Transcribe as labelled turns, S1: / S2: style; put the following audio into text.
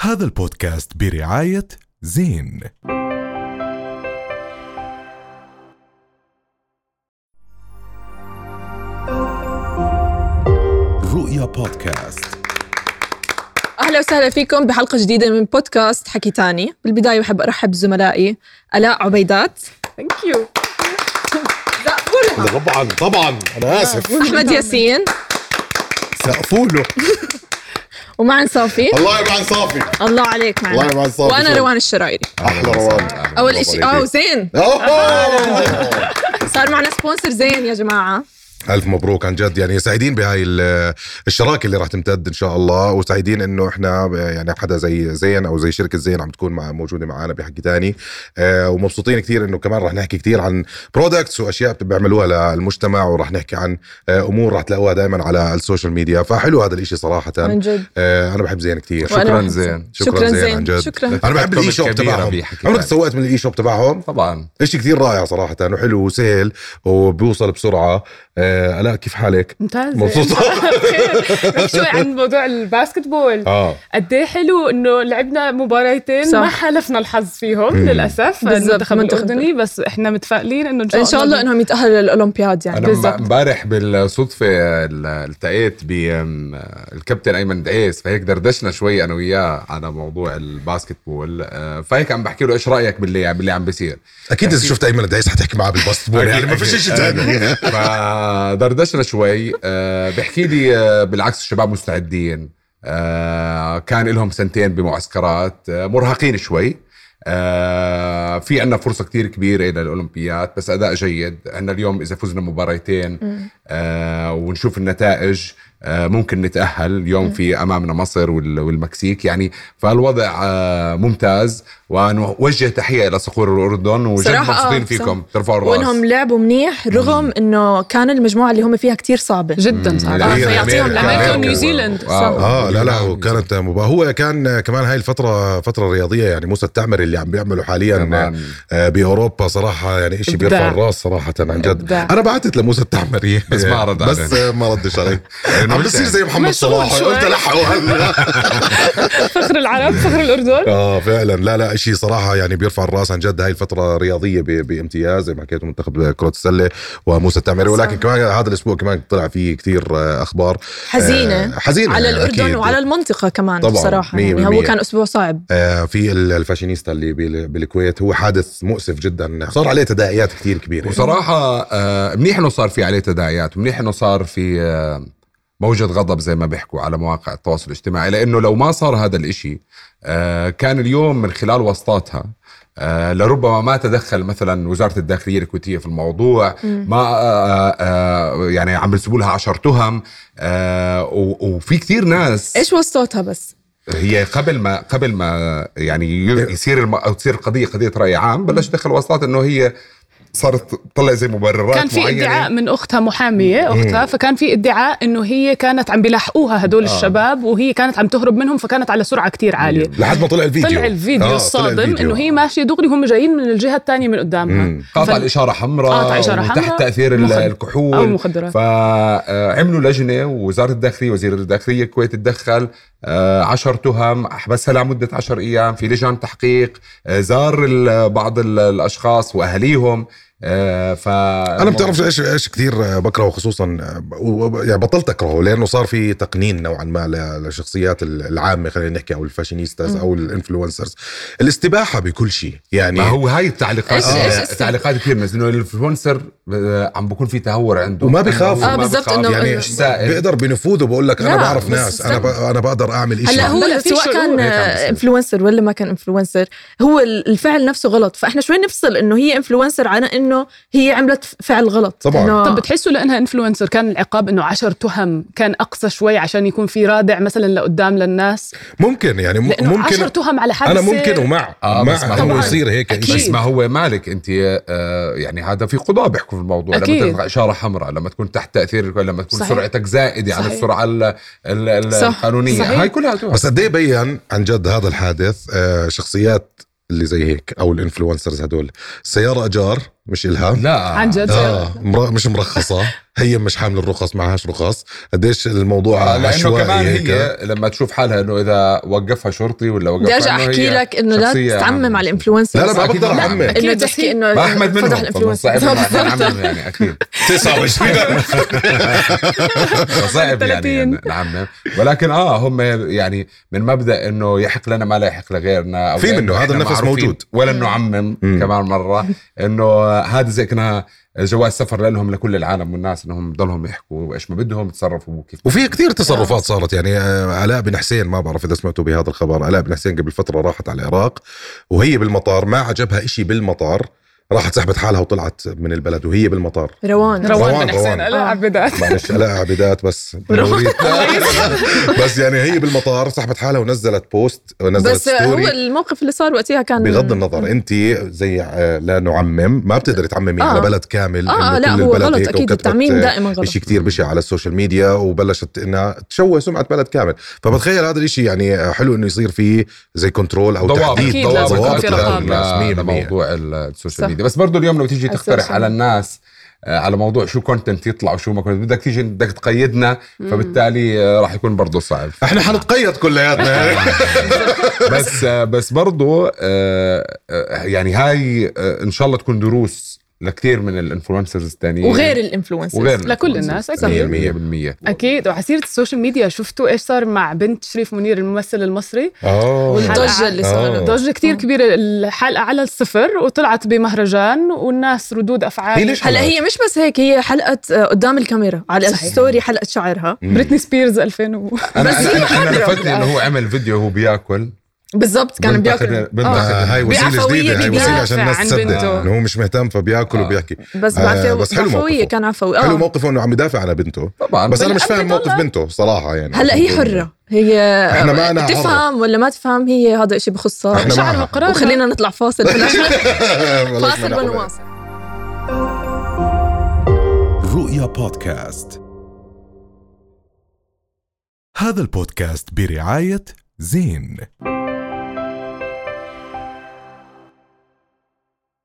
S1: هذا البودكاست برعاية زين رؤيا بودكاست
S2: اهلا وسهلا فيكم بحلقه جديده من بودكاست حكي تاني بالبدايه بحب ارحب بزملائي الاء عبيدات ثانك يو
S3: طبعا طبعا انا اسف
S2: احمد ياسين
S3: سقفوا له
S2: ومعن صافي
S3: الله يبعد صافي
S2: الله عليك
S3: الله
S2: معنا
S3: يبعد صافي
S2: وانا روان الشرايري
S3: احلى روان
S2: اول شيء اه وزين
S3: أوه.
S2: صار معنا سبونسر زين يا جماعه
S3: الف مبروك عن جد يعني سعيدين بهاي ال- الشراكه اللي راح تمتد ان شاء الله وسعيدين انه احنا يعني حدا زي زين او زي شركه زين عم تكون مع موجوده معنا بحكي تاني آه ومبسوطين كثير انه كمان راح نحكي كثير عن برودكتس واشياء بيعملوها للمجتمع وراح نحكي عن آه امور راح تلاقوها دائما على السوشيال ميديا فحلو هذا الاشي صراحه
S2: من جد
S3: آه انا بحب زين كثير
S2: وأنا
S4: شكراً
S2: بحب
S4: زين.
S3: شكرا, شكرا زين عن جد
S2: شكرا
S3: انا بحب الاي شوب
S4: كبيرة
S3: تبعهم
S4: بحكي
S3: عمرك
S4: تاني.
S3: تسوقت من الاي شوب تبعهم
S4: طبعا
S3: اشي كثير رائع صراحه وحلو وسهل وبيوصل بسرعه آه لا كيف حالك
S5: ممتاز
S3: مبسوطة؟
S5: بحكي شوي عن موضوع الباسكت بول
S3: اه
S5: قد ايه حلو انه لعبنا مباريتين
S2: صح.
S5: ما حالفنا الحظ فيهم
S3: مم.
S5: للاسف
S2: بالضبط،
S5: المنتخب
S2: منتخب.
S5: الاردني بس احنا متفائلين انه
S2: ان شاء الله انهم يتاهلوا للاولمبياد يعني
S4: انا
S5: بالضبط.
S4: امب- امبارح بالصدفه التقيت بالكابتن ايمن دعيس فهيك دردشنا شوي انا وياه على موضوع الباسكت بول آه، فهيك عم بحكي له ايش رايك باللي باللي عم بيصير
S3: اكيد اذا شفت ايمن دعيس حتحكي معاه بالباسكت بول يعني ما
S4: أكيد.
S3: فيش شيء ثاني
S4: فدردشنا يعني شوي آه، بحكي لي آه، بالعكس الشباب مستعدين آه، كان لهم سنتين بمعسكرات آه، مرهقين شوي آه، في عندنا فرصه كتير كبيره للاولمبياد بس اداء جيد عندنا اليوم اذا فزنا مباراتين آه، ونشوف النتائج آه، ممكن نتاهل اليوم في امامنا مصر وال- والمكسيك يعني فالوضع آه، ممتاز ونوجه تحيه الى صقور الاردن وجد
S2: صراحة، آه،
S4: مبسوطين
S2: صح.
S4: فيكم ترفعوا الراس
S2: وانهم لعبوا منيح رغم انه كان المجموعه اللي هم فيها كتير صعبه
S5: جدا صعب
S2: آه،
S4: هي
S2: فيعطيهم
S4: أمريكا-
S2: العافية.
S4: أمريكا.
S5: نيوزيلند.
S4: واو.
S5: صح.
S3: اه لا
S4: نعم.
S3: لا وكانت مبا هو كان كمان هاي الفتره فتره رياضيه يعني موسى التعمري اللي عم بيعمله حاليا
S4: كمان.
S3: آه باوروبا صراحه يعني شيء
S5: إبداع.
S3: بيرفع الراس صراحه عن جد
S5: إبداع.
S3: انا بعثت لموسى التعمري
S4: بس ما رد إيه، علي.
S3: بس آه، ما ردش علي عم بصير زي محمد
S5: مشغول
S3: صلاح
S5: شوي.
S3: قلت لحقوا هلا
S5: فخر العرب فخر الاردن
S3: اه فعلا لا لا شيء صراحه يعني بيرفع الراس عن جد هاي الفتره رياضيه ب- بامتياز زي ما حكيت منتخب كره السله وموسى التعمري ولكن كمان هذا الاسبوع كمان طلع فيه كثير آه، اخبار
S2: حزينه
S3: آه، حزينه
S2: على
S3: يعني
S2: الاردن
S3: أكيد.
S2: وعلى المنطقه كمان
S3: طبعاً،
S2: بصراحه
S3: مية
S2: يعني هو
S3: بالمية.
S2: كان اسبوع صعب
S3: آه، في ال- الفاشينيستا اللي بال- بالكويت هو حادث مؤسف جدا صار عليه تداعيات كثير كبيره
S4: وصراحة آه، منيح انه صار في عليه تداعيات منيح انه صار في آه، موجة غضب زي ما بيحكوا على مواقع التواصل الاجتماعي لأنه لو ما صار هذا الإشي آه، كان اليوم من خلال وسطاتها آه، لربما ما تدخل مثلا وزارة الداخلية الكويتية في الموضوع ما آه، آه، يعني عم بيسبوا لها عشر تهم آه، و- وفي كثير ناس
S2: ايش وسطتها بس
S4: هي قبل ما قبل ما يعني ي- يصير الم... او تصير القضيه قضيه راي عام بلش دخل وسطات انه هي صارت تطلع زي مبررات
S5: كان في
S4: معينه
S5: ادعاء من اختها محاميه اختها فكان في ادعاء انه هي كانت عم بيلحقوها هدول
S3: آه.
S5: الشباب وهي كانت عم تهرب منهم فكانت على سرعه كتير عاليه
S3: لحد ما طلع الفيديو
S5: طلع الفيديو
S3: آه، طلع
S5: الصادم
S3: الفيديو.
S5: انه هي ماشيه دغري هم جايين من الجهه الثانيه من قدامها
S4: قاطع
S5: فال-
S4: الاشاره حمراء
S5: قاطع إشارة
S4: تحت
S5: حمراء
S4: تاثير ال-
S5: مخد-
S4: الكحول
S5: أو مخدرات.
S4: فعملوا لجنه ووزاره الداخليه وزير الداخليه الكويت تدخل آه، عشر تهم حبسها لمده عشر ايام في لجان تحقيق آه، زار ال- بعض ال- الاشخاص واهاليهم آه، ف
S3: انا
S2: أمم.
S3: بتعرف ايش ايش كثير آه، بكرهه خصوصا و- و- يعني بطلت اكرهه لانه صار في تقنين نوعا ما ل- للشخصيات العامه خلينا نحكي او
S2: أمم.
S3: الفاشينيستاز او الانفلونسرز الاستباحه بكل شيء يعني
S4: ما هو هاي التعليقات
S2: إيش- إيش
S4: آه،
S2: السبب؟
S4: تعليقات كثير ناس انه الانفلونسر آه، عم بكون في تهور عنده
S3: وما بيخاف.
S4: عنده-
S2: آه،
S4: ما
S2: بالضبط
S4: بيخاف.
S2: إنه-
S4: يعني
S2: إنه-
S4: مش سائل
S3: بيقدر بنفوذه بقول لك انا
S2: لا،
S3: بعرف
S2: بس
S3: ناس انا ب... انا بقدر اعمل شيء
S2: هلا
S5: لا،
S2: هو
S5: في
S2: سواء
S5: شعور
S2: كان
S3: إيه
S4: هيك عم بصير.
S2: انفلونسر ولا ما كان انفلونسر هو ال- الفعل نفسه غلط فاحنا شوي نفصل انه هي انفلونسر على انه هي عملت ف- فعل غلط
S3: طبعاً.
S2: إنه-
S5: طب بتحسوا لانها انفلونسر كان العقاب انه عشر تهم كان اقصى شوي عشان يكون في رادع مثلا لقدام للناس
S3: ممكن يعني م...
S5: لانه
S3: ممكن
S5: عشر تهم على حادثه
S3: انا ممكن ومع
S4: آه، بس
S3: مع
S4: ما
S3: انه
S4: طبعاً.
S3: يصير هيك
S5: أكيد.
S3: إشي.
S4: بس ما هو مالك انت آه، يعني هذا في قضاة بيحكوا في الموضوع
S5: أكيد.
S4: لما تلقى اشاره حمراء لما تكون تحت تاثير الكحول، لما تكون
S5: صحيح.
S4: سرعتك زائده عن
S5: صحيح.
S4: السرعه ال- ال- ال-
S2: صح.
S4: القانونيه
S5: صحيح.
S4: هاي كلها تهم.
S3: بس قد ايه بين عن جد هذا الحادث آه شخصيات اللي زي هيك او الانفلونسرز هدول سياره اجار مش الها
S4: لا
S5: عن جد
S3: اه مر... مش مرخصه هي مش حامل الرخص معهاش رخص قديش الموضوع
S4: لانه
S3: عشوائي
S4: آه، كمان
S3: آه، هيك
S4: هي لما تشوف حالها انه اذا وقفها شرطي ولا وقفها
S2: بدي ارجع
S4: إنه
S2: احكي
S4: هي
S2: لك انه لا
S4: شخصية
S2: تستعمم
S4: عامة.
S2: على الانفلونسرز
S3: لا لا ما بقدر
S4: لا،
S3: اعمم
S5: أكيد
S2: انه
S5: بس
S2: تحكي
S5: هي-
S2: انه
S4: ما احمد
S2: فضح
S4: منهم طبعا صعب
S2: الانفلونسرز
S4: إنه أحمد عنهم يعني اكيد
S3: 29
S4: صعب يعني
S5: 30.
S4: نعم ولكن اه هم يعني من مبدا انه يحق لنا ما لا يحق لغيرنا أو
S3: في
S4: لأنه
S3: منه،
S4: إحنا
S3: هذا النفس
S4: معروفين.
S3: موجود.
S4: ولا نعمم
S3: مم.
S4: كمان مره انه هذا زي كنا جواز سفر لهم لكل العالم والناس انهم ضلهم يحكوا ايش ما بدهم يتصرفوا وكيف
S3: وفي كثير تصرفات صارت يعني آه، علاء بن حسين ما بعرف اذا سمعتوا بهذا الخبر علاء بن حسين قبل فتره راحت على العراق وهي بالمطار ما عجبها إشي بالمطار راحت سحبت حالها وطلعت من البلد وهي بالمطار
S2: روان
S3: روان،
S5: روان بن حسين
S3: روان.
S5: لا عبدات
S3: معلش لا عبيدات بس بوريك. بس يعني هي بالمطار سحبت حالها ونزلت بوست ونزلت
S2: بس هو
S3: ستوري
S2: الموقف اللي صار وقتها كان
S3: بغض النظر انت زي آه، لا نعمم ما بتقدري تعممي
S2: آه.
S3: على بلد كامل إنه
S2: اه آه، لا
S3: كل
S2: هو
S3: البلد هيك
S2: غلط اكيد
S3: وكتبت،
S2: التعميم
S3: آه،
S2: دائما غلط
S3: شيء كتير بشع على السوشيال ميديا وبلشت انها تشوه سمعه بلد كامل فبتخيل هذا الشيء يعني حلو انه يصير فيه زي كنترول او تحديد
S5: أكيد لازم يكون
S3: ضوابط
S5: في رقابة.
S3: لهذا الناس 100%
S4: لموضوع السوشيال
S2: صح.
S4: ميديا بس برضه اليوم لما تيجي تقترح
S2: السوشيال.
S4: على الناس آه، على موضوع شو كونتنت يطلع وشو ما كنت بدك تيجي بدك تقيدنا فبالتالي آه، راح يكون برضه صعب
S3: احنا حنتقيد كلياتنا
S4: بس بس برضو آه، آه، يعني هاي آه، ان شاء الله تكون دروس لكثير من الانفلونسرز الثانيين
S2: إيه. وغير الانفلونسرز
S4: وغير
S5: لكل الناس، أكيد.
S4: 100%
S5: اكيد وعسيره السوشيال ميديا شفتوا ايش صار مع بنت شريف منير الممثل المصري
S3: اه
S2: والضجه اللي صارت
S5: ضجه كثير كبيره الحلقه على الصفر وطلعت بمهرجان والناس ردود افعال
S3: هي ليش
S2: هلا هي مش بس هيك هي حلقه آه، قدام الكاميرا على
S5: صحيح.
S2: الستوري حلقه شعرها
S5: بريتني سبيرز 2000 و...
S4: انا
S2: بس هي
S4: انا انا
S2: حرة.
S4: لفتني انه هو عمل فيديو وهو بياكل
S2: بالضبط كان بياكل آه.
S4: بنتخذ
S3: هاي وسيله
S2: بعفوية
S3: جديده هاي وسيله
S5: بيدافع
S3: عشان الناس
S5: عن
S3: تصدق
S5: بنته.
S3: انه هو مش مهتم فبياكل
S4: آه.
S3: وبيحكي
S2: بس
S3: آه،
S2: بعفوي
S3: بس حلو
S2: عفوية
S3: موقفه.
S2: كان عفوي
S3: حلو
S2: اه
S3: موقفه انه عم يدافع على بنته
S4: طبعا
S3: بس انا مش
S2: بالأخير
S3: فاهم موقف
S2: طلع.
S3: بنته صراحه يعني
S2: هلا هي حرة هي
S3: إحنا معنا حرة.
S2: تفهم ولا ما تفهم هي هذا شيء بخصها
S3: إحنا
S2: مش
S3: معها.
S2: عارفة قرارها. وخلينا نطلع فاصل
S3: والله
S2: فاصل
S3: اسمع نحن.
S2: ونواصل
S1: رؤيا بودكاست هذا البودكاست برعاية زين